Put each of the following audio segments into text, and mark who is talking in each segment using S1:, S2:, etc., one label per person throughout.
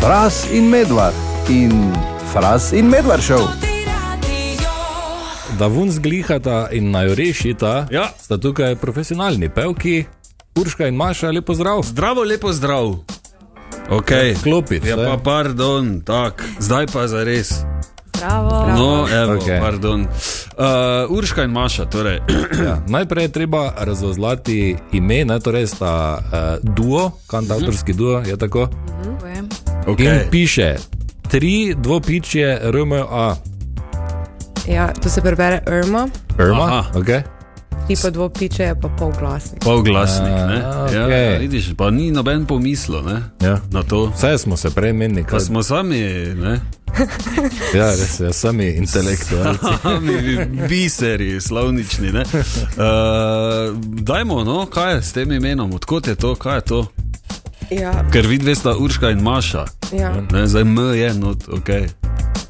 S1: Fras in medvard in Fras in medvard šov.
S2: Da vun zglihata in naj rešita,
S3: Ja.
S2: sta tukaj profesionalni pevki, Urška in Maša, lepo zdrav.
S3: Zdravo, lepo zdrav. Okay.
S2: Klopi,
S3: Ja,
S2: vse.
S3: pa pardon, tak. zdaj pa za res.
S4: Bravo.
S3: No, evo,
S2: Okej.
S3: okay. pardon. Uh, Urška in Maša, torej.
S2: Ja. Najprej je treba razvozlati ime, ne, torej sta uh, duo, kantautorski duo, je tako.
S4: Pojem.
S2: In piše tri dvopičje RMA.
S4: Ja, to se prebere Irma,
S2: Irma,
S3: Aha.
S2: okay.
S4: ti pa dvo piče, je pa pol glasnik.
S3: Polglasnik,
S2: A,
S3: ne? Ja,
S2: okej.
S3: ja, vidiš, pa ni noben pomislo, ne?
S2: ja.
S3: Na to.
S2: Vse smo se prej menili,
S3: Pa
S2: kaj smo.
S3: smo sami, ne?
S2: Ja, res, ja, sami ja. intelektualci.
S3: Sami biseri, slavnični, ne? Uh, dajmo, no, kaj je s tem imenom, odkot je to, kaj je to?
S4: Ja,
S3: Ker vidve sta Urška in Maša,
S4: ja.
S3: ne? Zdaj M je, no, ok.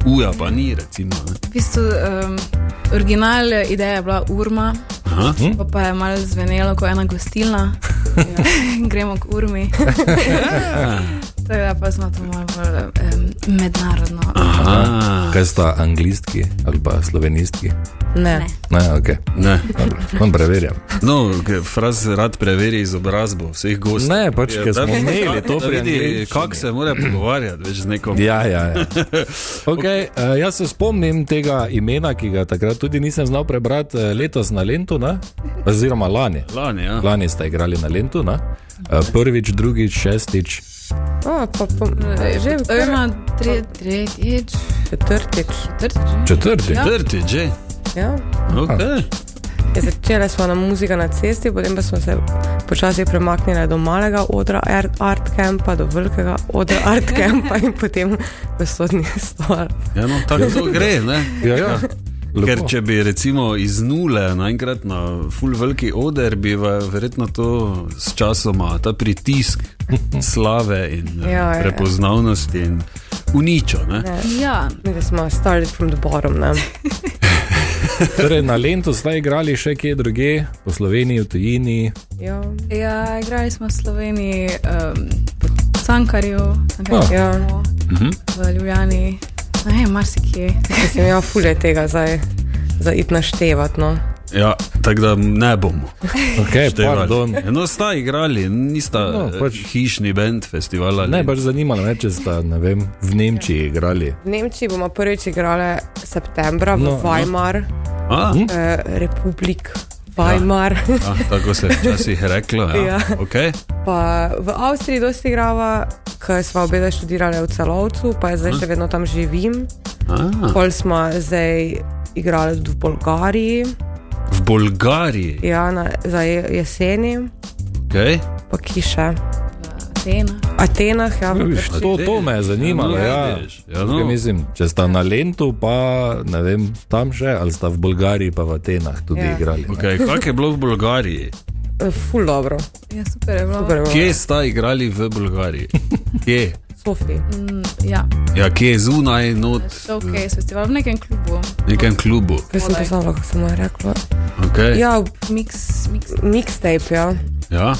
S3: Uja pa ni, recimo, ne?
S5: V bistvu, um, original ideja je bila urma,
S3: Aha.
S4: Hm?
S5: pa, pa je malo zvenelo kot ena gostilna.
S4: Ja.
S5: Gremo k urmi. Tako da pa smo to malo bolj um, mednarodno.
S3: Aha.
S2: Kaj sta anglistki ali pa slovenistki?
S4: Ne.
S2: Ne, okay.
S3: Ne.
S2: Dobro, Vam preverjam.
S3: No, ke- fraz rad preveri izobrazbo vseh gostov. Ja,
S2: Ne, pač, ker
S3: da
S2: smo
S3: vidi,
S2: imeli
S3: ka-
S2: to
S3: da
S2: pri
S3: vidi,
S2: angleščini.
S3: Kako se mora pogovarjati več z nekom?
S2: Ja, ja, ja. Okay, uh, jaz se spomnim tega imena, ki ga takrat tudi nisem znal prebrati, eh, letos na Lendu, ne? oziroma lani.
S3: Lani, ja.
S2: Lani ste igrali na Lendu, ne? Eh, prvič, drugič, šestič.
S4: O, pa po, že Irma.
S5: Urma, tre- tretjič,
S4: Četrtič.
S5: četrtič.
S2: Četrti.
S5: Ja.
S3: Trti, že.
S4: Ja.
S3: Okay.
S4: Ja, Začela smo na muzika na cesti, potem pa smo se počasi premaknili do malega odra Art- Art Campa, do velikega odra Art Campa in potem v sodni stol.
S3: Ja, no, tako to gre. Ne?
S2: Ja, ja. Lepo.
S3: Ker če bi recimo iz nule naenkrat na full veliki oder, bi va- verjetno to s časoma, ta pritisk slave in eh,
S4: Ja, ja.
S3: prepoznavnosti in uničo. Ne?
S5: Ja,
S4: Mi da smo started from the bottom, ne?
S2: Torej, na Lendu ste igrali še kje druge, po Sloveniji, v tujini.
S4: Ja.
S5: ja, igrali smo v Sloveniji, um, v Cankarju,
S2: Ah.
S5: Cankarju
S4: Ja.
S5: no,
S2: Mhm.
S5: v Ljubljani, ne vem, marsikje.
S4: Sem imel fulje ja, tega zdaj, za it naštevati, no.
S3: Ja, tako da ne bomo.
S2: Okay,
S3: Števali.
S2: E, pardon.
S3: No, sta igrali, nista
S2: No,
S3: no,
S2: pač-
S3: pač... hišni bend festivala.
S2: Ne,
S3: ali-
S2: pač zanimalo me, če ste ne vem, v Nemčiji igrali.
S4: V Nemčiji bomo prvič igrali septembra v
S2: No, no.
S4: no, Weimar, no.
S3: A?
S2: Mhm.
S4: Eh, Republik Weimar.
S3: Ah, tako se je včasih reklo. Ja.
S4: Ja.
S3: Okay.
S4: Pa v Avstriji dosti igrava, ker smo obe dve študirali v celovcu, pa jaz zdaj še vedno tam živim.
S3: Ah,
S4: Pol smo zdaj igrali tudi v Bolgariji,
S3: v Bolgariji.
S4: ja, na, za je- jeseni,
S3: Okay.
S4: pa ki še.
S5: Atena.
S4: Atenah,
S2: Ja,
S4: ja, v
S2: viš, To, to me je zanimalo.
S3: Ja, no,
S2: Ja.
S3: vidiš, ja, no.
S2: Ker Mislim, če sta na Lendu, pa ne vem, tam še, ali sta v Bolgariji, pa v Atenah tudi ja.
S4: Ja.
S2: igrali. ne.
S3: Okay, Kako je bilo v Bolgariji?
S4: eh, ful dobro.
S5: Ja, super je bilo.
S4: Super, je bilo.
S3: Kje sta igrali v Bolgariji? Kje?
S4: Sofi.
S5: Mm, ja,
S3: Ja, kje je zunaj, not
S4: Mm.
S3: v
S5: showcase festival v nekem klubu.
S3: nekem klubu.
S4: Jaz sem to znala, kako sem mu rekla.
S3: Okay.
S4: Ja,
S5: Mix, mix.
S4: mixtape, ja.
S3: Ja.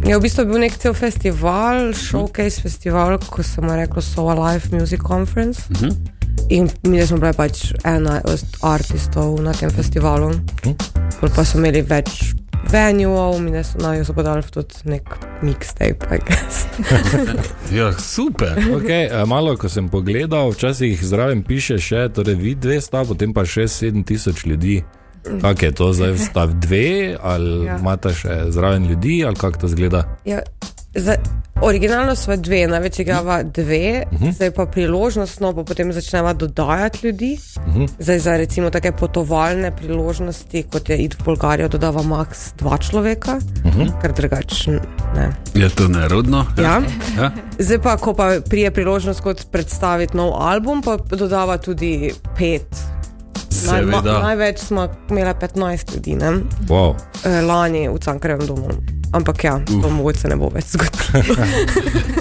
S4: Je v bistvu bil nek cel festival, showcase festival, ko se mu je reklo So Alive Music Conference. Uh -huh. In mi smo bili pač ena od artistov na tem festivalu. Pol pa so imeli več venuev, mi smo na jo podali tudi nek mixtape, I guess.
S3: ja, super.
S2: Okay, eh, malo, ko sem pogledal, včasih zraven piše še, torej vi dve sta, potem pa še 7000 ljudi. Kako je to zdaj, sta v dve, ali ja.
S4: Ja.
S2: imate še zraven ljudi, ali kako to zgleda?
S4: Ja, za, originalno smo dve, največ igrava dve, uh -huh. zdaj pa priložnostno, pa potem začneva dodajati ljudi. Uh -huh. Zdaj za recimo take potovalne priložnosti, kot je id v Bolgarijo, dodava maks dva človeka, uh -huh. ker drugače ne.
S3: Je to nerodno?
S4: Ja.
S3: ja.
S4: Zdaj pa, ko pa prije priložnost kot predstaviti nov album, pa dodava tudi pet.
S3: Seveda.
S4: največ smo imeli 15 ljudi, ne?
S2: Wow.
S4: E, lani v Cankarjevem domu. Ampak ja, to mogoče ne bo več zgodilo.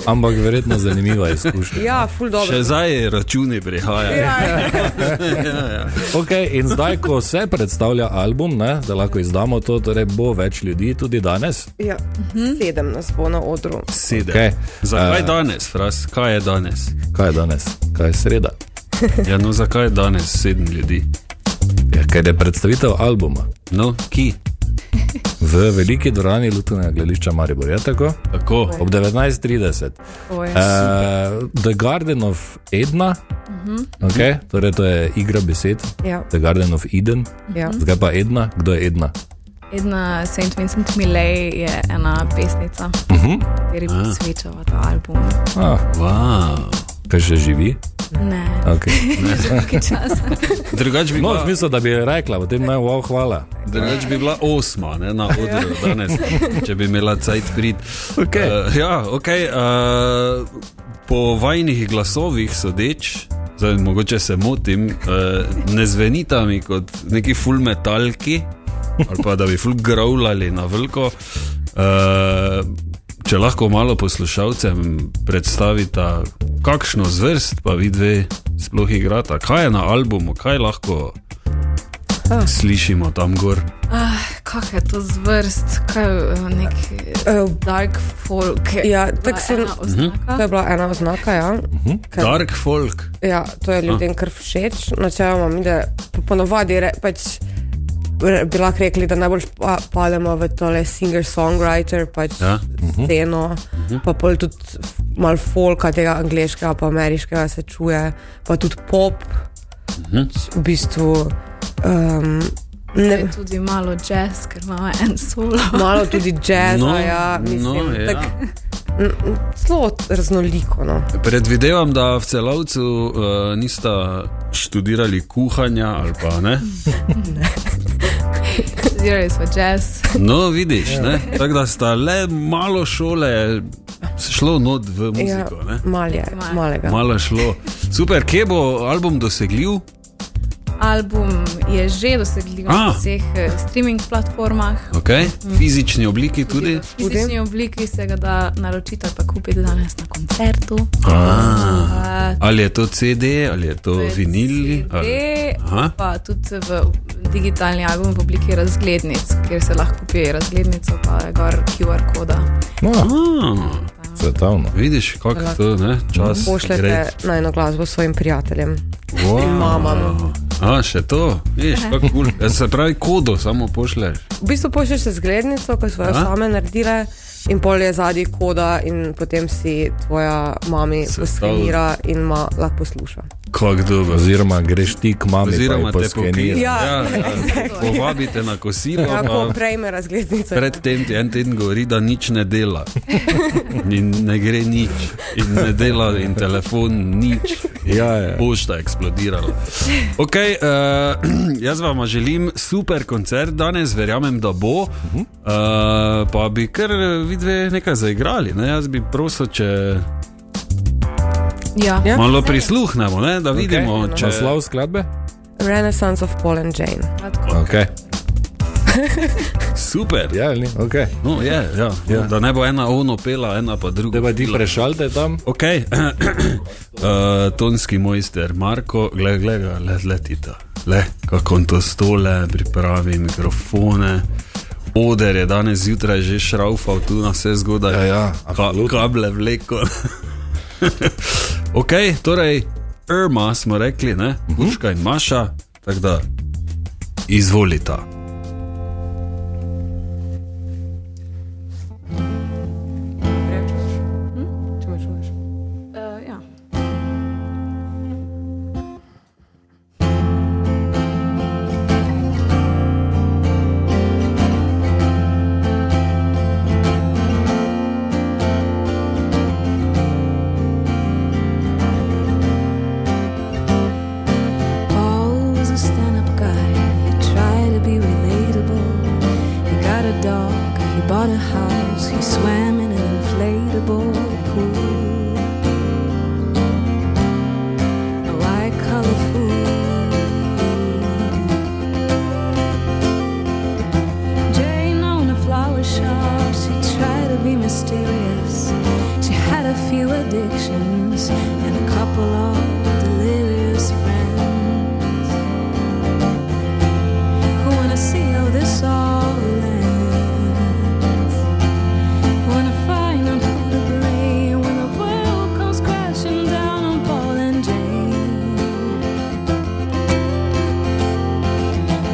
S2: Ampak verjetno zanimiva izkušnja.
S4: Ja, ful dobro.
S3: Še zdaj računi prihajajo.
S4: Ja, ja.
S2: Okay, in zdaj, ko se predstavlja album, ne, da lahko izdamo to, torej bo več ljudi tudi danes.
S4: ja.
S3: Mhm.
S4: Sedem nas bo na odru.
S3: Sedem.
S2: Okej.
S3: Okay. Zakaj
S2: Eh.
S3: uh, danes, fras? Kaj je danes?
S2: Kaj je danes? Kaj je sreda?
S3: Ja, no, zakaj je danes sedem ljudi?
S2: Ja, ker je predstavitev albuma
S3: No, ki?
S2: v veliki dvorani Lutovnega gledališča Maribor. Je tako?
S3: Tako.
S2: Ob 19:30.
S5: Oje.
S2: Uh, The Garden of Edna, okay, torej to je igra besed,
S4: Ja,
S2: The Garden of Eden,
S4: ja.
S2: zdaj pa Edna, kdo je Edna?
S5: Edna St. Vincent Millay je ena pesnica,
S2: Uh
S4: Mhm.
S2: -huh.
S5: kateri posvečava ta album.
S2: ah,
S3: Wow.
S2: kaj še živi?
S5: Ne,
S2: Okay.
S5: nekaj časa.
S3: Drugač bi,
S2: No, v
S3: bila-
S2: smislu, da bi rekla, potem naj wow, hvala.
S3: drugač bi bila osma ne, na odru danes, če bi imela cajt prid.
S2: Okay.
S3: Uh, ja, okay, uh, po vajnih glasovih sodeč, zdaj mogoče se motim, uh, ne zvenita mi kot neki full metalki ali pa da bi full growlali na veliko. Uh, če lahko malo poslušalcem predstavita, kakšno zvrst pa vi dve sploh igrata, kaj je na albumu, kaj lahko. Slišimo tam gor.
S5: Ah, kak je to zvrst, kaj eh, nek
S4: Eh,
S5: dark folk. je
S4: Ja,
S5: bila
S4: tako sem-
S5: ena
S4: Mhm.
S5: oznaka.
S4: To je bila ena oznaka, ja.
S3: Mhm.
S4: Ker-
S3: Dark folk.
S4: Ja, to je ljudem kar všeč. Načeloma mi, da po- ponovadi re, pač, re, bi lahko rekli, da najbolj pa, pademo v tole singer-songwriter, pač
S3: Ja.
S4: ja.
S2: Mhm.
S4: sceno,
S3: Mhm.
S4: pa pol tudi malo folka tega angliškega, pa ameriškega se čuje, pa tudi pop. V bistvu um, ne, No.
S5: Je tudi malo jazz, ker ima en solo.
S4: malo tudi jazz,
S3: No,
S4: no, ja, mislim,
S3: no,
S4: no,
S3: ja.
S4: ja. tak, n- n- zelo raznoliko. No.
S3: Predvidevam, da v celovcu uh, nista študirali kuhanja ali pa ne.
S5: Studirali smo jazz.
S3: No, vidiš, ne? tako da sta le malo šole šlo not v muziko. Ne?
S4: mal je,
S5: Malo.
S4: Ja, malega.
S3: Malo je šlo. Super, kje bo album dosegljiv?
S5: Album je že dosegljiv
S3: Ah.
S5: na vseh eh, streaming platformah.
S3: Okay. Fizični obliki tudi.
S5: V fizični obliki se ga da naročiti ali pa kupiti danes na koncertu.
S3: Ah,
S5: Ah,
S3: ali je to CD, ali je to vinil. Ali...
S5: CD,
S3: Aha.
S5: pa tudi v digitalni album v obliki razglednic, kjer se lahko kupi razglednico, pa je gor QR koda.
S2: No,
S3: Ah,
S2: svetovno.
S3: vidiš, kako je to, ne? čas.
S4: Pošljete
S3: gre.
S4: na eno glasbo svojim prijateljem.
S3: Wow.
S4: mamam.
S3: A, še to, veš, kako kul. Cool. Se pravi, kodo samo pošleš.
S4: V bistvu pošlješ še zglednico, ki so jo
S3: Aha.
S4: same naredile, in pol je zadnji koda, in potem si tvoja mami
S3: Sestavlja.
S4: poskenira in ma lahko posluša.
S3: Kako dobro.
S2: Oziroma, greš ti k mami,
S3: Oziroma, te pokliče.
S2: poskeni.
S4: Ja,
S3: Povabite na kosilo.
S4: Tako
S3: pa
S4: prejme razglednico.
S3: Predtem ti en teden govori, da nič ne dela. In ne gre nič, in ne dela, in telefon nič.
S2: Ja, ja.
S3: Pošta je eksplodirala. Okay, uh, jaz vam želim super koncert danes, verjamem, da bo. Uh,
S2: Mhm.
S3: pa bi kar vidve nekaj zaigrali. Ne? Jaz bi prosil, če
S5: Ja.
S4: Ja.
S3: malo prisluhnemo, ne? da vidimo, okay. če
S2: Naslov skladbe?
S4: Renaissance of Paul and Jane.
S5: Kratko.
S2: Okay.
S3: super.
S2: Ja, ali ni? Okay.
S3: No, je, ja, ja. Da ne bo ena ono pela, ena pa druga.
S2: Zdaj pa ti
S3: pela.
S2: prešalte tam.
S3: Ok, uh, tonski mojster Marko, glej, glej, ga, le, le tita, le, kako on to stole, pripravi mikrofone. Oder je danes zjutraj že šraufal tu na vse zgodaj,
S2: Ja, ja,
S3: Ka
S2: absolutno.
S3: kable vleko. ok, torej, Irma smo rekli, ne,
S2: Mhm.
S3: Urška in Maša, tako da izvolita.
S5: Uh, ja.
S6: Always a stand up guy. You try to be with Oh, few addictions and a couple of delirious friends. Who wanna see how this all ends. Wanna find out who to blame when the world comes crashing down on Paul and Jane.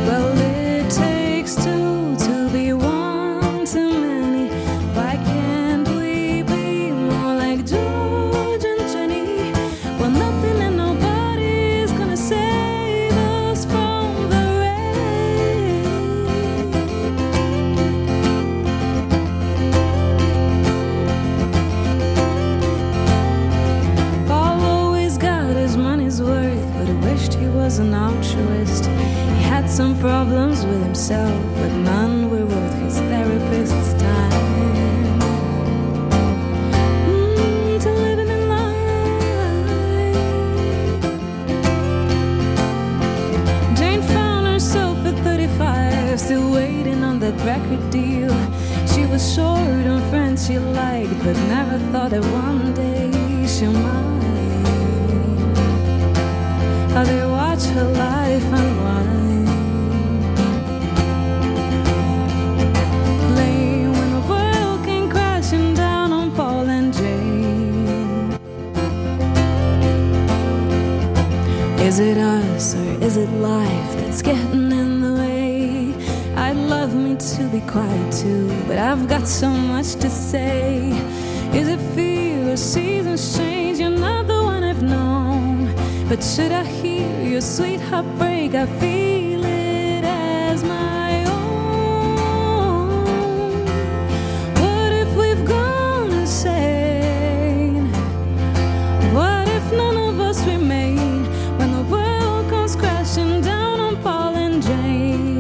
S6: Well, it takes two to be one too many. Why can't we be more like George and Jenny? Well, nothing and nobody's gonna save us from the rain. Paul always got his money's worth, but he wished he was an altruist. He had some problems with himself, but none were worth his therapist's time. Mm, to living in life. Jane found herself at 35, still waiting on that record deal. She was short on friends she liked, but never thought that one day she might. How they watch her life unwind. Blame when the world came crashing down on Paul and Jane. Is it us or is it life that's getting in the way? I'd love me to be quiet too, but I've got so much to say. Is it fear or seasons change? You're not the one I've known. But should I hear your sweet heartbreak? I feel it as my own. What if we've gone insane? What if none of us remain when the world comes crashing down on Paul and Jane?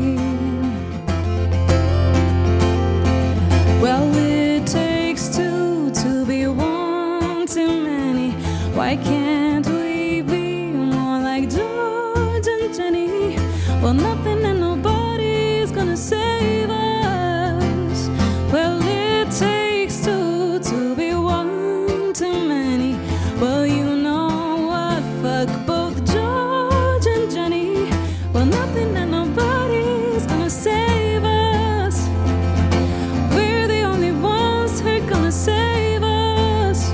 S6: Well, it takes two to be one too many. Why can't we be more like George and Jenny? Well, nothing and nobody's gonna save us. Well, it takes two to be one too many. Well, you know what? Fuck both George and Jenny. Well, nothing and nobody's gonna save us. We're the only ones who are gonna save us.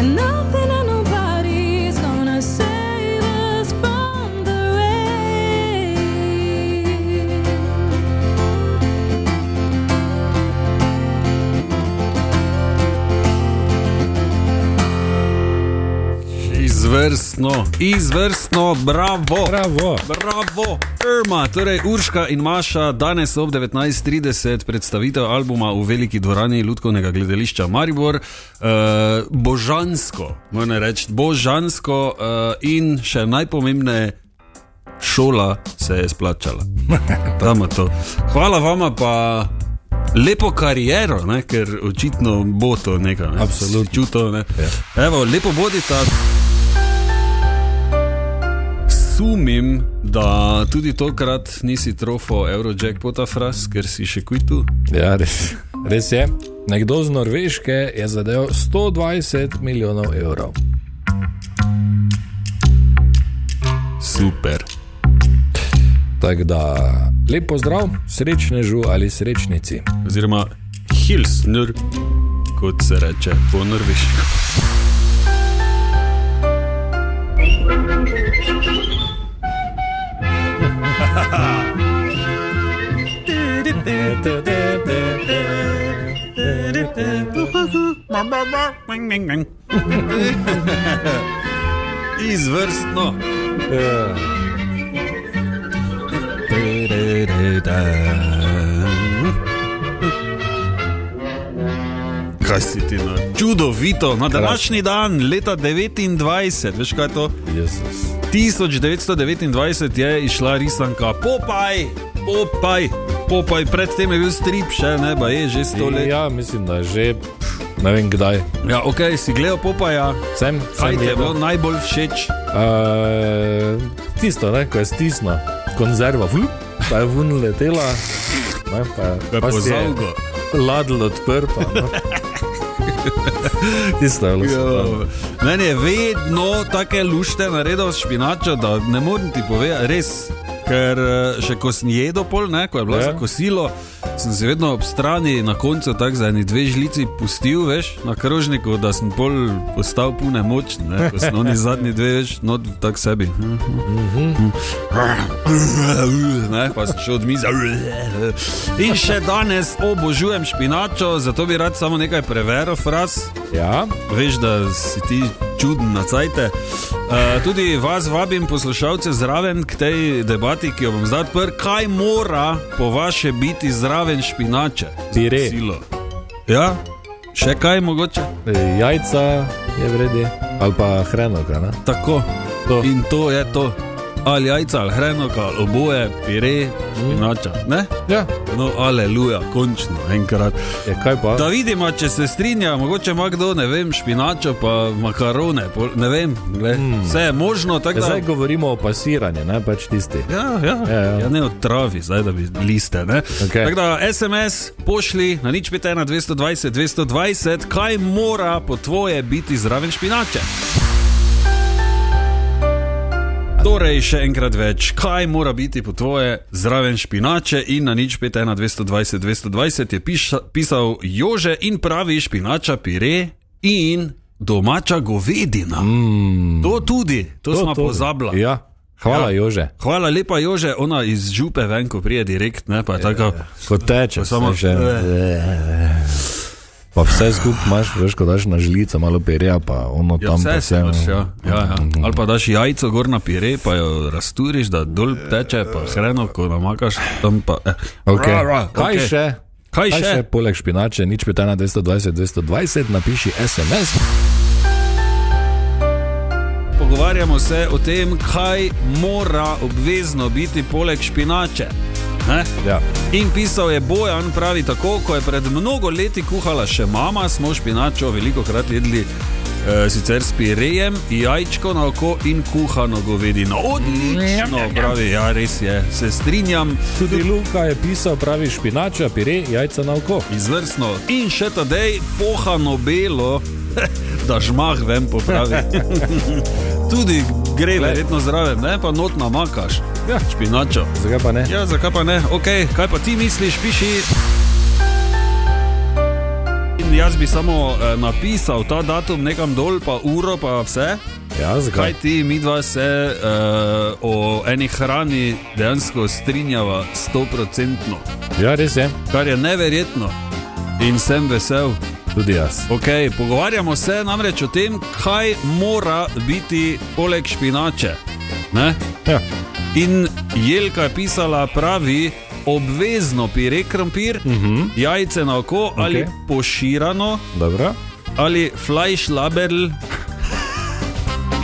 S6: And nothing and nobody's gonna save us from the rain.
S3: Izvrstno, izvrstno, bravo.
S2: Bravo.
S3: Bravo, Irma, torej Urška in Maša, danes ob 19:30 predstavitev albuma v veliki dvorani Ludkovnega gledališča Maribor. Uh, božansko, moram reči, božansko uh, in še najpomembneje, šola se je splačala. Damo to. Hvala vama pa. Lepo kariero, ne, ker očitno bo to nekaj. Ne.
S2: Absolutno.
S3: Čuto, ne. Evo, lepo bodite. Sumim, da tudi tokrat nisi trofo Eurojackpota, fras, ker si še kuj tu.
S2: Ja, res, res je. Nekdo z Norveške je zadeval 120 milijonov evrov.
S3: Super.
S2: Tako da, lepo zdrav, srečnežu ali srečnici.
S3: Oziroma, Hilsnur, kot se reče po norveško. Izvrstno. Kaj si ti na čudovito, na današnji dan, leta 29, veš kaj je to?
S2: Jezus.
S3: 1929 je išla risanka Popaj, Popaj, Popaj, predtem je bil strip, še ne, pa je že stoletje.
S2: Ja, mislim, da je že pff, ne vem kdaj.
S3: Ja, ok, si gledal Popaja,
S2: Sem,
S3: kaj
S2: sem
S3: ti je bilo
S2: jedel.
S3: najbolj všeč?
S2: Uh, tisto, ne, ko je stisnila konzerva, vlup, pa je vun letela, ne, pa,
S3: Pa
S2: pa si je
S3: pozavgo.
S2: ladl odprl. Pa, no. Tisto je bilo. super.
S3: Jo, Meni je vedno take lušte naredil s špinačo, da ne morem ti povedati, res. Ker eh, še ko sem jedel pol, ne, ko je bilo
S2: Ja.
S3: za kosilo, sem se vedno ob strani na koncu tako za eni dve žlici pustil, veš, na krožniku, da sem pol postal pune moč, ne, ko sem oni zadnji dve več, no tako sebi. Ne, pa sem šel od mize. In še danes obožujem špinačo, zato bi rad samo nekaj preveril, fraz.
S2: Ja,
S3: Veš, da si ti čuden na cajte. Uh, tudi vas vabim, poslušalce, zraven k tej debati, ki jo bom zdaj odprl. Kaj mora po vaše biti zraven špinače? Za
S2: Pire.
S3: kosilo? Ja, še kaj mogoče?
S2: e, jajca je vredi, ali pa hrenovka. ne?
S3: Tako.
S2: To.
S3: In to je to. Ali jajca, ali hrenovka, ali oboje, pire, špinača. Ne?
S2: Ja,
S3: No, aleluja, končno, enkrat.
S2: je E, kaj pa?
S3: Da vidimo, če se strinja, mogoče ima kdo, ne vem, špinačo, pa makarone, pol- ne vem, glej, vse je možno. tako
S2: Ja,
S3: da-
S2: Hmm. Zdaj govorimo o pasiranju, ne pač tisti.
S3: Ja, ja.
S2: Ja,
S3: Ja,
S2: ja.
S3: ja. ja, ne od travi, zdaj da bi liste. Okay.
S2: Okej.
S3: Tako da SMS pošli na nič 5, 1, 220, 220, kaj mora po tvoje biti zraven špinače. Torej, še enkrat več, kaj mora biti po tvoje zraven špinače in na nič 5, 1, 220, 220 je piša, pisal Jože in pravi špinača pire in domača govedina. Mm. To tudi, to, to smo
S2: to-
S3: pozabili.
S2: Ja, hvala,
S3: Ja.
S2: Jože.
S3: Hvala lepa, Jože, ona iz župe ven, ko prije direkt, ne pa je tako.
S2: Ko teče,
S3: samo-
S2: samo še. e, Pa vse skupaj imaš, veš, ko daš na žlico, malo perja, pa ono
S3: Ja,
S2: tam
S3: vse
S2: pa no.
S3: se vrši, ja. ja, ja. Ali pa daš jajco gor na pire, pa jo rasturiš, da dol teče, pa hreno, ko namakaš, tam pa. Eh.
S2: Okay.
S3: Ra, ra,
S2: Kaj
S3: okej.
S2: še?
S3: Kaj
S2: Kaj
S3: še?
S2: še poleg špinače, nič peta na 220, 220, napiši SMS.
S3: Pogovarjamo se o tem, kaj mora obvezno biti poleg špinače. Ne?
S2: Ja.
S3: In pisal je Bojan, pravi tako, ko je pred mnogo leti kuhala še mama, smo špinačo veliko krat jedli. eh, Sicer s pirejem, jajčko na oko in kuhano govedino. Odlično, pravi, ja, res je, se strinjam,
S2: Tudi Luka je pisal, pravi špinača, pire, jajca na oko.
S3: izvrstno. In še tedej pohano belo, da žmah vem popravi. Tudi gre verjetno zraven, ne pa not namakaš.
S2: Ja.
S3: Špinačo.
S2: Zakaj pa ne?
S3: Ja, zakaj pa ne? Ok, kaj pa ti misliš, piši. In jaz bi samo eh, napisal ta datum nekam dol, pa uro, pa vse.
S2: Ja,
S3: Kaj
S2: zakaj?
S3: ti, mi dva se eh, o eni hrani dejansko strinjava stoprocentno,
S2: Ja, res je.
S3: kar je neverjetno. In sem vesel.
S2: Tudi jaz.
S3: Okay, pogovarjamo se namreč o tem, kaj mora biti poleg špinače. Ne?
S2: Ja.
S3: In Jelka je pisala pravi, obvezno pire krompir, uh
S2: Mhm.
S3: -huh. jajce na oko okay. ali poširano
S2: Dobro.
S3: ali flajšlaberl.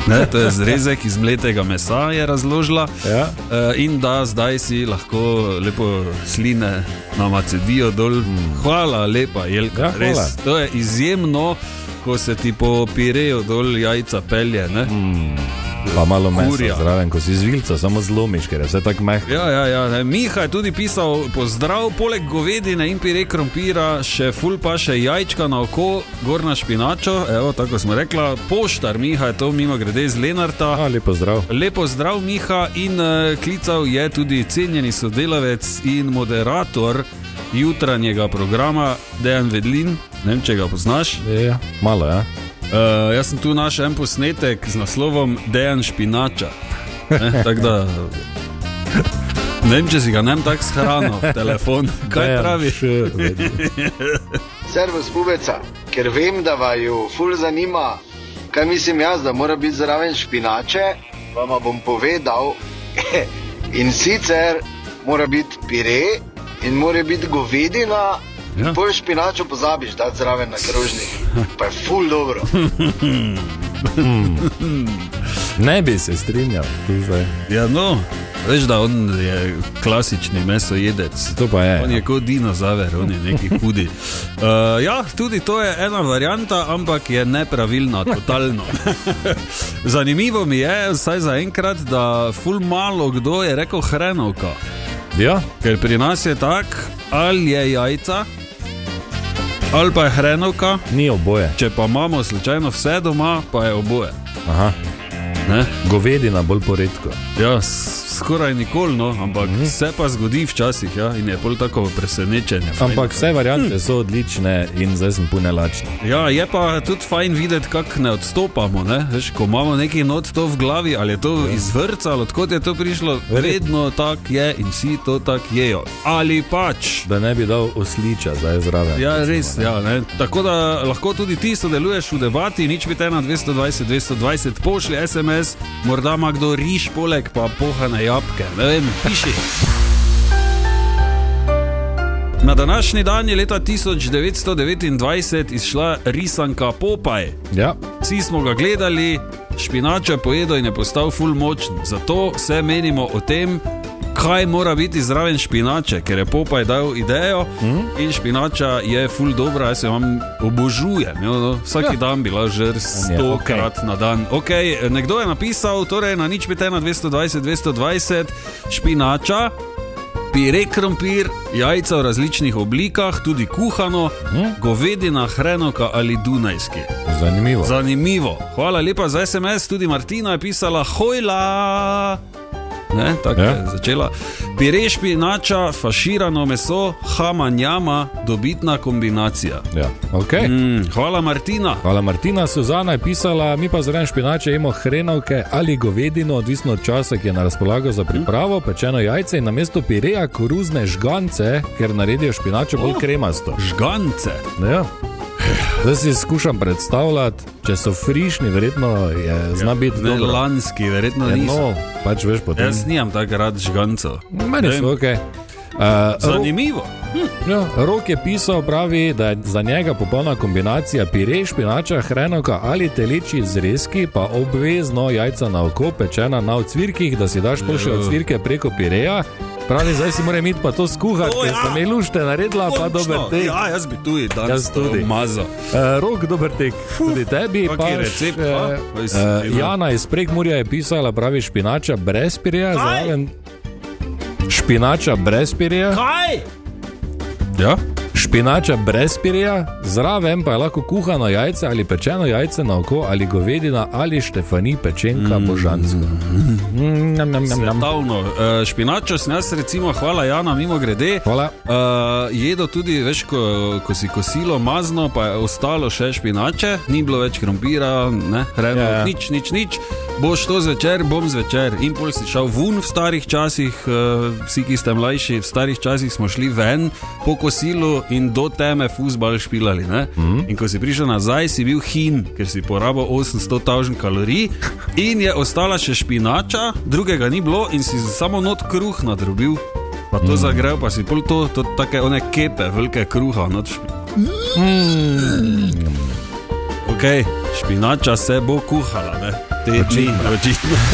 S3: Ne, to je zrezek iz mletega mesa, je razložila.
S2: Ja.
S3: Eh, In da zdaj si lahko lepo sline namacedijo dol. Hvala lepa, Jelka.
S2: Mm. Ja, hvala.
S3: Res, to je izjemno, ko se ti po pireju dol jajca pelje. Ne?
S2: Pa malo mesa
S3: Kurja.
S2: zraven, ko si zvilca, samo zlomiš, ker je vse tako mehko.
S3: Ja, ja, ja. ne. Miha je tudi pisal, pozdrav, poleg govedine in pire krompira, še ful pa še jajčka na oko, gorna špinačo, evo, tako smo rekla, poštar Miha je to mimo grede iz Lenarta.
S2: Ja, lepo zdrav.
S3: Lepo zdrav, Miha, in uh, klical je tudi cenjeni sodelavec in moderator jutranjega programa Dejan Vedlin, ne vem, če ga poznaš.
S2: Ja, malo, ja.
S3: Uh, jaz sem tu našel en posnetek z naslovom Dejan Špinača. Ne, tako da, ne vem, če si ga ne vem tako shranil, v telefon. Kaj
S2: Dejan
S3: praviš?
S2: Š- vedno.
S7: Servus pubeca, ker vem, da vaju ful zanima, kaj mislim jaz, da mora biti zraven špinače, vam bom povedal. In sicer mora biti pire in mora biti govedina.
S3: Ja.
S7: Ja. Pol špinačo pozabiš, da zraven na krožnik, pa je ful dobro.
S2: Ne bi se strinjal, ti zdaj.
S3: Ja, no, veš, da on je klasični mesojedec.
S2: To pa je.
S3: On je kot dinozaver, on je neki hudi. Uh, ja, tudi to je ena varianta, ampak je nepravilna, totalno. Zanimivo mi je, vsaj zaenkrat, da ful malo kdo je rekel hrenovka.
S2: Ja,
S3: Ker pri nas je tako, ali je jajca, ali pa je hrenovka,
S2: Ni oboje.
S3: če pa imamo slučajno vse doma, pa je oboje.
S2: Aha.
S3: Ne?
S2: Govedina bolj poredko.
S3: Ja, s- skoraj nikoli, no, ampak mm -hmm. se pa zgodi včasih ja, in je bolj tako presenečenje. fajn.
S2: Ampak vse variante so odlične in zdaj sem pune lačen.
S3: Ja, je pa tudi fajn videti, kako ne odstopamo. Ne? Veš, ko imamo neki not to v glavi, ali je to iz vrca, ali odkot je to prišlo, vedno tako je in vsi to tako jejo. Ali pač.
S2: Da ne bi dal osliča zdaj zraven.
S3: Ja, res. Ja, ne. Tako da lahko tudi ti sodeluješ v debati, nič pite na 220, 220, pošlji SMS, morda ima kdo riž poleg, pa pohane jabke. Ne vem, piši. Na današnji dan je leta 1929 izšla risanka Popaj.
S2: ja.
S3: Vsi smo ga gledali, špinača pojedo in je postal ful močen. Zato se menimo o tem, kaj mora biti zraven špinače, ker je Popaj dal idejo mm. in špinača je ful dobra, jaz jo imam obožujem. Jo, no. Vsak ja. dan bila že
S2: Ja, okej.
S3: stokrat na dan. Okay, nekdo je napisal, torej na nič pete na 220, 220 špinača. Pire krompir, jajca v različnih oblikah, tudi kuhano, mm? govedina, hrenovka ali dunajski.
S2: Zanimivo.
S3: Zanimivo. Hvala lepa za SMS, tudi Martina je pisala, hojla. Ne, tako
S2: Ja.
S3: ja. je začela. Pire špinača, faširano meso, hamanjama, dobitna kombinacija.
S2: Ja. Okay.
S3: Mm, hvala, Martina.
S2: Hvala, Martina. Suzana je pisala, mi pa zraven špinače jemo hrenovke ali govedino, odvisno od časa, ki je na razpolago za pripravo, pečeno jajce in namesto pireja koruzne žgance, ker naredijo špinačo bolj kremasto.
S3: Žgance.
S2: Ja. Zdaj si skušam predstavljati, če so frišni, verjetno je zna biti
S3: Ne,
S2: dobro.
S3: lanski, verjetno
S2: Ja,
S3: ne.
S2: No, pač veš potem.
S3: Jaz nimam tako rad žgancev.
S2: Meni so ok. Uh,
S3: Zanimivo.
S2: Ja, Rok je pisal, pravi, da je za njega popolna kombinacija pire, špinača, hrenovka ali telečji zrezki, pa obvezno jajca na oko, pečena na ocvirkih, da si daš pol
S3: Ja.
S2: še ocvirke preko pireja. Pravi, zdaj si mora imeti pa to skuhati,
S3: O,
S2: ker
S3: ja.
S2: sem jih lušte naredila, pa dober
S3: Končno.
S2: tek.
S3: Ja, jaz bi tudi danes
S2: Jaz
S3: to
S2: tudi.
S3: Mazal.
S2: Eh, Rok, dober tek, tudi tebi.
S3: Kaki
S2: pa
S3: recept,
S2: še,
S3: a? Oj, sem
S2: eh,
S3: imel.
S2: Jana iz Prekmurja je pisala, pravi, špinača brez pireja, zraven. Špinača brez pireja.
S3: Kaj? Ja?
S2: Špinača brez pireja, zraven pa je lahko kuhano jajce ali pečeno jajce na oko ali govedina ali štefani pečenka mm. božanska. Mm, nam, nam, nam, nam.
S3: Svetovno. Uh, špinačo sem jaz, recimo, hvala Jana, mimo grede.
S2: Hvala.
S3: Uh, jedo tudi, veš, ko, ko si kosilo mazno, pa je ostalo še špinače, ni bilo več krompira, ne, reno,
S2: Ja,
S3: ja,
S2: ja.
S3: ja. nič, nič, nič. Boš to zvečer, bom zvečer. In pol si šel ven v starih časih, uh, vsi, ki ste mlajši, v starih časih smo šli ven po kosilu in do teme fusbal špilali. Mm. In ko si prišel nazaj, si bil hin, ker si porabil 800 tavžen kalorij in je ostala še špinača, drugega ni bilo in si samo not kruh nadrobil. Pa to mm. zagrejo, pa si pol to, to take one kepe, velike kruha. Not špi... mm. Ok, špinača se bo kuhala, ne? Te dni, očitno.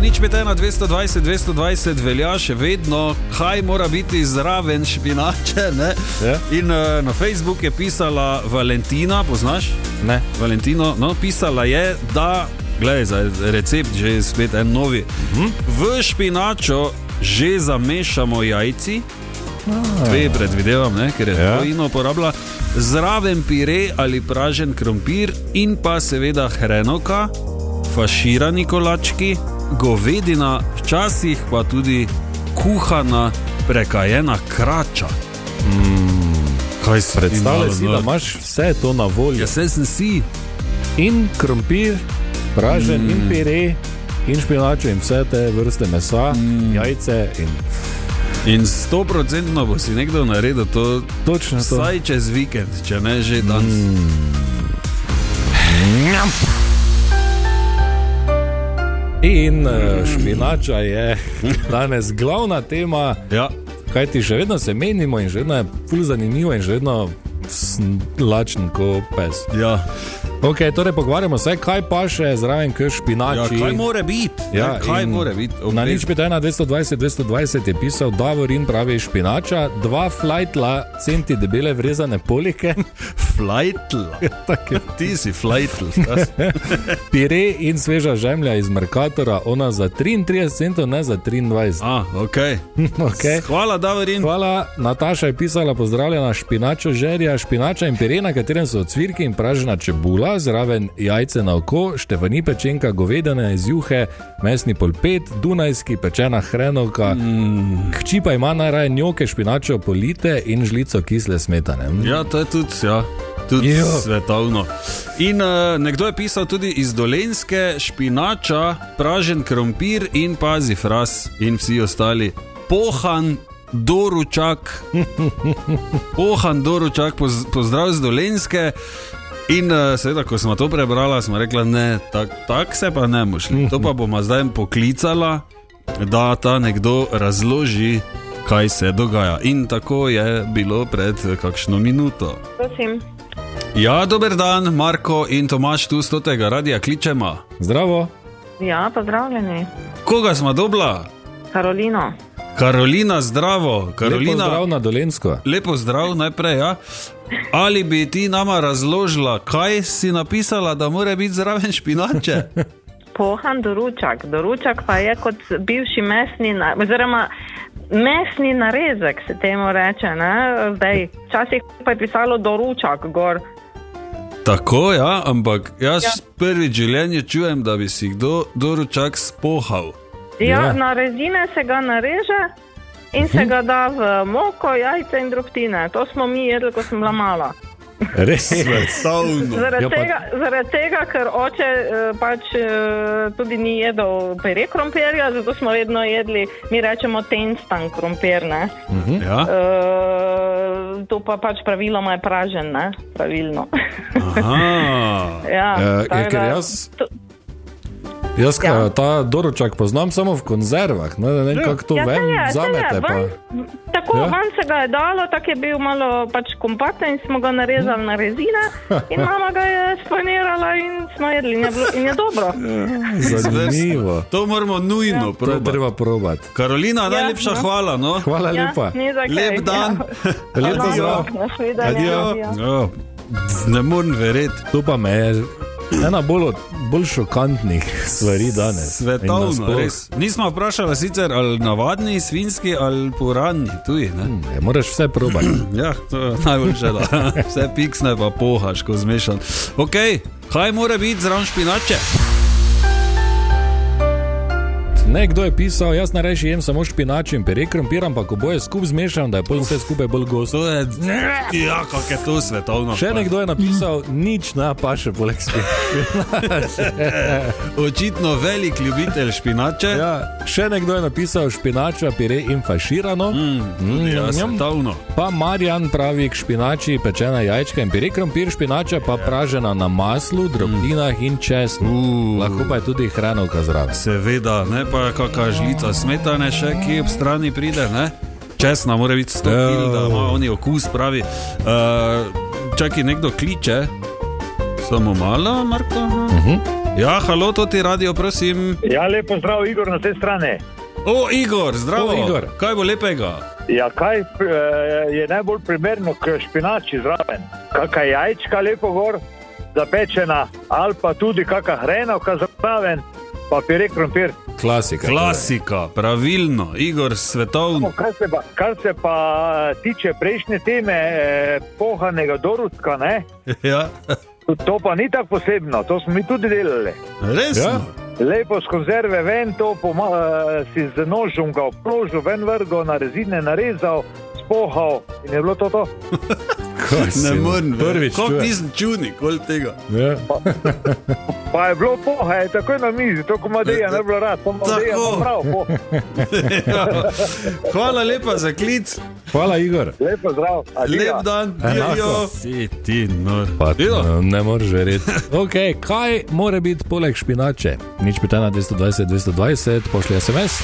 S3: Nič med 1, 220, 220 velja še vedno, kaj mora biti zraven špinače. Ne?
S2: Ja.
S3: In uh, na Facebooku je pisala Valentina, poznaš?
S2: Ne.
S3: Valentino, no, pisala je, da, gledaj, za recept že je spet en novi.
S2: Mhm.
S3: V špinačo že zamešamo jajci, dve predvidevam, ne, ker je
S2: Ah. Ja.
S3: to ino uporabila, zraven pire ali pražen krompir in pa seveda hrenoka, faširani kolački, govedina, včasih pa tudi kuhana, prekajena krača. Kaj si
S2: Mm. Predstavljaj
S3: malo
S2: si, da
S3: nor?
S2: imaš vse to na voljo.
S3: Ja, saj sem si.
S2: In krompir, pražen mm. in pire. In špinačo, in vse te vrste mesa, mm. jajce, in
S3: In stoprocentno bo si nekdo naredil to,
S2: točno to.
S3: vsaj čez vikend, če ne že danes. Mm.
S2: In eh, špinača je danes glavna tema.
S3: Ja,
S2: Kaj ti še vedno se menimo in še vedno je ful zanimivo in še vedno sn- lačen kot pes.
S3: ja.
S2: Okay, torej pogovarjamo se, kaj pa še zraven, kaj
S3: ja
S2: špinači.
S3: kaj mora biti?
S2: Ja,
S3: Ja, kaj
S2: in
S3: mora biti?
S2: Na nič
S3: Obvezno.
S2: pet ena 220, 220 je pisal Davorin pravi špinača, dva flajtla, centi debele vrezane polike,
S3: flajtl.
S2: Tako je.
S3: Ti si flajtl.
S2: Pire in sveža žemlja iz Merkatora, ona za 33 centov, ne za 23.
S3: A, okay.
S2: Okay.
S3: Hvala, Davorin.
S2: Hvala, Nataša je pisala, pozdravljena špinačo žerja, špinača in pire, na katerem so ocvirki in pražena čebula, zraven jajce na oko, števani pečenka, govedene iz juhe, mesni polpet, dunajski pečena hrenovka. Mm. Hči pa ima najraje njoke, špinačo polite in žlico kisle smetane. Mm.
S3: Ja, to je tudi, ja, tudi
S2: Jo.
S3: svetovno. In uh, nekdo je pisal tudi iz Dolenske, špinača, pražen krompir in pazi fras in vsi ostali. Pohan doručak, pohan doručak, poz, pozdrav z Dolenske. In uh, seveda, ko smo to prebrala, smo rekla, ne, tako tak se pa ne mošli. To pa bomo zdaj poklicala, da ta nekdo razloži, kaj se dogaja. In tako je bilo pred eh, kakšno minuto.
S8: Prosim,
S3: Ja, dober dan, Marko in Tomaš, tu z tega radia kličemo.
S2: Zdravo,
S8: ja, pozdravljeni.
S3: Koga smo dobila?
S8: Karolino,
S3: Karolina, zdravo,
S2: Karolina.
S3: Karolina.
S2: Zdrav na Dolensko.
S3: Lepo zdrav, najprej. Ja. Ali bi ti nama razložila, kaj si napisala, da mora biti zraven špinače?
S8: pohan doručak. Doručak pa je kot bivši mesni, na, oziroma mesni narezek se temu reče. Ne? Zdaj, včasih pa je pisalo doručak gor.
S3: Tako, ja, ampak jaz ja. prvič v življenju čujem, da bi si kdo doručak spohal.
S8: Ja,
S2: Ja.
S8: ja. Na rezine se ga nareže. In se ga da v moko, jajce in drobtine. To smo mi jedli, ko sem bila mala.
S2: Res je.
S3: Savno.
S2: Ja,
S8: Zaradi, ja,
S2: pa-
S8: tega, zaradi tega, ker oče eh, pač eh, tudi ni jedel pere krompirja, zato smo vedno jedli, mi rečemo, tenstan krompir. Ne?
S3: Ja.
S8: Uh, to pa pač praviloma je pražen, ne? pravilno.
S3: Aha.
S8: ja,
S2: Ja,
S8: tako
S2: ker
S8: da-
S2: jaz-
S8: to,
S2: Jaz ja.
S8: Ja.
S2: ta doručak poznam samo v konzervah, ne, ne vem, ja. kako to
S8: ja,
S2: ja,
S8: saj
S2: vem,
S8: je, saj
S2: zamete
S8: je,
S2: pa.
S8: ven, Tako
S2: Ja.
S8: ja. van se ga je dalo, tako je bil malo pač kompakten in smo ga narezali na rezine. In mama ga je spanirala in smo jedli in je, bilo, in je dobro.
S2: Zanimivo.
S3: To moramo nujno ja.
S2: To je
S3: probati.
S2: treba probati.
S3: Karolina, najlepša
S8: no.
S3: hvala. No.
S2: Hvala ja,
S8: Ja,
S2: lepa.
S8: ni za kaj,
S3: Lep dan.
S8: Ja.
S2: Lep pozdrav.
S8: Adijo.
S3: Ja, ne morem verjeti.
S2: To pa me je ena bolj, od- bolj šokantnih stvari danes. In
S3: Svetovno,
S2: nasploh.
S3: res. Nismo vprašali sicer ali navadni, svinski ali puranji, tuji. Ne?
S2: Ja, moraš vse probati.
S3: Ja, to je najboljše. da. Vse piksne pa pohaš, ko zmešan. Ok, kaj mora biti zraven špinače?
S2: Nekdo je pisal, jaz najrajši jem samo špinač in pere krompir, ampak oboje skupaj zmešam, da je pol vse skupaj bolj gosto.
S3: To je, ja, kako je to svetovno.
S2: Še nekdo je napisal, nič na paše poleg spina.
S3: Očitno velik ljubitelj špinače. Ja.
S2: Ja, še nekdo je napisal špinača, pere in faširano.
S3: Mm, ja,
S2: njam.
S3: svetovno.
S2: Pa Marjan pravi k špinači pečena jajčka in pire krompir, špinača pa pražena na maslu, drobninah in česnu.
S3: Uh,
S2: Lahko pa je tudi hranovka zraven.
S3: seveda, ne pa kakšna žlica smetane še, ki ob strani pride. Ne? Česna mora biti stopil, da
S2: Ja.
S3: ima oni okus pravi. Uh, čakaj, nekdo kliče. Samo malo, Marko. Uh
S2: Mhm.
S3: -huh. Ja, halo, to ti radio, prosim.
S9: Ja, lepo zdrav, Igor, na te strani.
S3: O, Igor, zdravo.
S2: O, Igor.
S3: Kaj bo lepega?
S9: Ja, kaj eh, je najbolj primerno k špinači zraven? Kakšna jajčka lepo gor, zapečena, ali pa tudi kakšna hrenovka zraven, pa pire krompir.
S2: Klasika. torej.
S3: Klasika, pravilno, Igor, svetovno.
S9: No, Kar se, pa, kar se pa eh, tiče prejšnje teme, eh, pohanega doručka, ne,
S3: Ja.
S9: to- to pa ni tako posebno, to smo mi tudi delali.
S3: Res?
S2: Ja.
S3: Ja?
S9: Lepo s konzerve ven, to poma, eh, si z nožem ga obkrožil, ven vrgo, na rezine narezal, spohal in je bilo to to.
S3: Ne morem.
S2: Prvič.
S3: Kot
S2: čujem.
S3: nisem čudnik, kol tega.
S2: Ja.
S9: Pa je bilo poha, je takoj na mizi, tako madeja, ne bilo rad, to madeja,
S3: Tako.
S9: pa prav, po.
S3: Ja. Hvala lepa za klic,
S2: Hvala, Igor.
S9: lepo zdrav. adijo.
S3: lep dan,
S2: Enako.
S3: Jojo. Si ti no. nor.
S2: Pa,
S3: Vidijo?
S2: ne, ne moreš verjeti. Okay, kaj mora biti poleg špinače? Nič pitana 220, 220, pošlji SMS.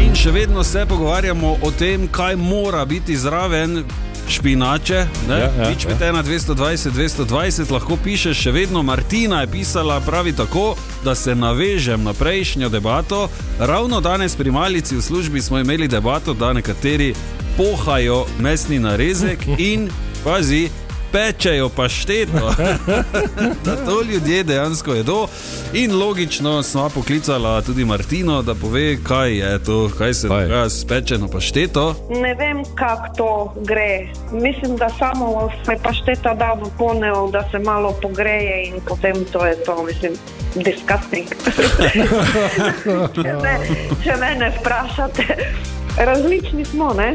S3: In še vedno se pogovarjamo o tem, kaj mora biti zraven. Špinače,
S2: Ja,
S3: ja,
S2: ja,
S3: ja, nič pete na 220, 220, lahko piše, še vedno Martina je pisala, pravi tako, da se navežem na prejšnjo debato. Ravno danes pri Malici v službi smo imeli debato, da nekateri pohajo mesni narezek in pazi. Pečejo pašteto, da to ljudje dejansko jedo. In logično smo poklicali tudi Martino, da pove, kaj je to, kaj se
S2: Kaj?
S3: dogaja s pečeno pašteto.
S10: Ne vem, kako to gre. Mislim, da samo se pašteta da v ponev, da se malo pogreje in potem to je to, mislim, disgusting. če, me, če mene vprašate, različni smo, ne?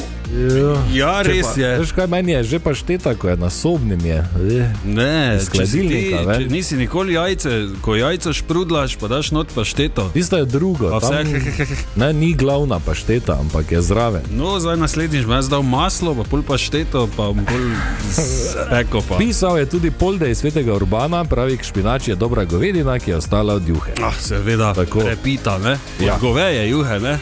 S3: Ja, res je.
S2: Veš kaj meni je, že pa šteta, ko je na sobnem je. Eh.
S3: Ne,
S2: Iz
S3: če si ti,
S2: hladilnika,
S3: če
S2: ven.
S3: nisi nikoli jajce, ko jajca šprudlaš, pa daš not pašteto.
S2: Tisto je drugo,
S3: Pa
S2: tam,
S3: vse-
S2: ne, ni glavna pašteta, ampak je zraven.
S3: No, zdaj naslednjič bom jaz dal maslo, pa pol pašteto, pa bom pol peko pa.
S2: Pisal je tudi Polde iz svetega Urbana, pravi, špinač je dobra govedina, ki je ostala od juhe.
S3: Ah, seveda,
S2: Tako.
S3: repita, ne?
S2: Ja.
S3: Ja. Goveje, juhe, ne?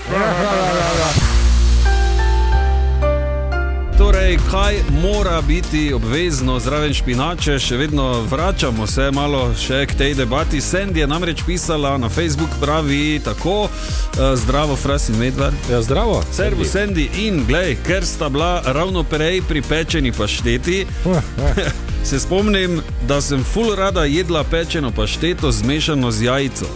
S3: Torej, kaj mora biti obvezno zraven špinače, še vedno vračamo se malo še k tej debati. Sandy je namreč pisala na Facebook, pravi tako, eh, zdravo, fras in medvar.
S2: Ja, zdravo.
S3: Servus, Sandy in glej, ker sta bila ravno prej pripečeni pašteti, se spomnim, da sem full rada jedla pečeno pašteto zmešano z jajco.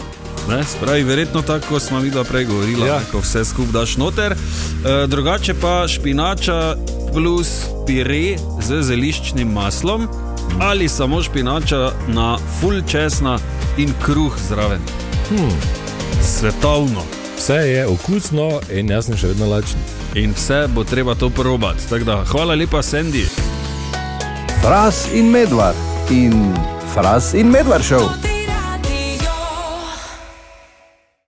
S3: Ne, spravi, verjetno tako, kot smo videli prej, govorila,
S2: Ja.
S3: ja. ko vse skupaj daš noter. E, drugače pa špinača plus pire z zeliščnim maslom ali samo špinača na full česna in kruh zraven. Hmm. Svetovno.
S2: Vse je okusno in jaz sem še vedno lačen.
S3: In vse bo treba to probati. Tako da, Hvala lepa, Sandy.
S1: Fras in Medvard in Fras in Medvard šel.
S6: Ti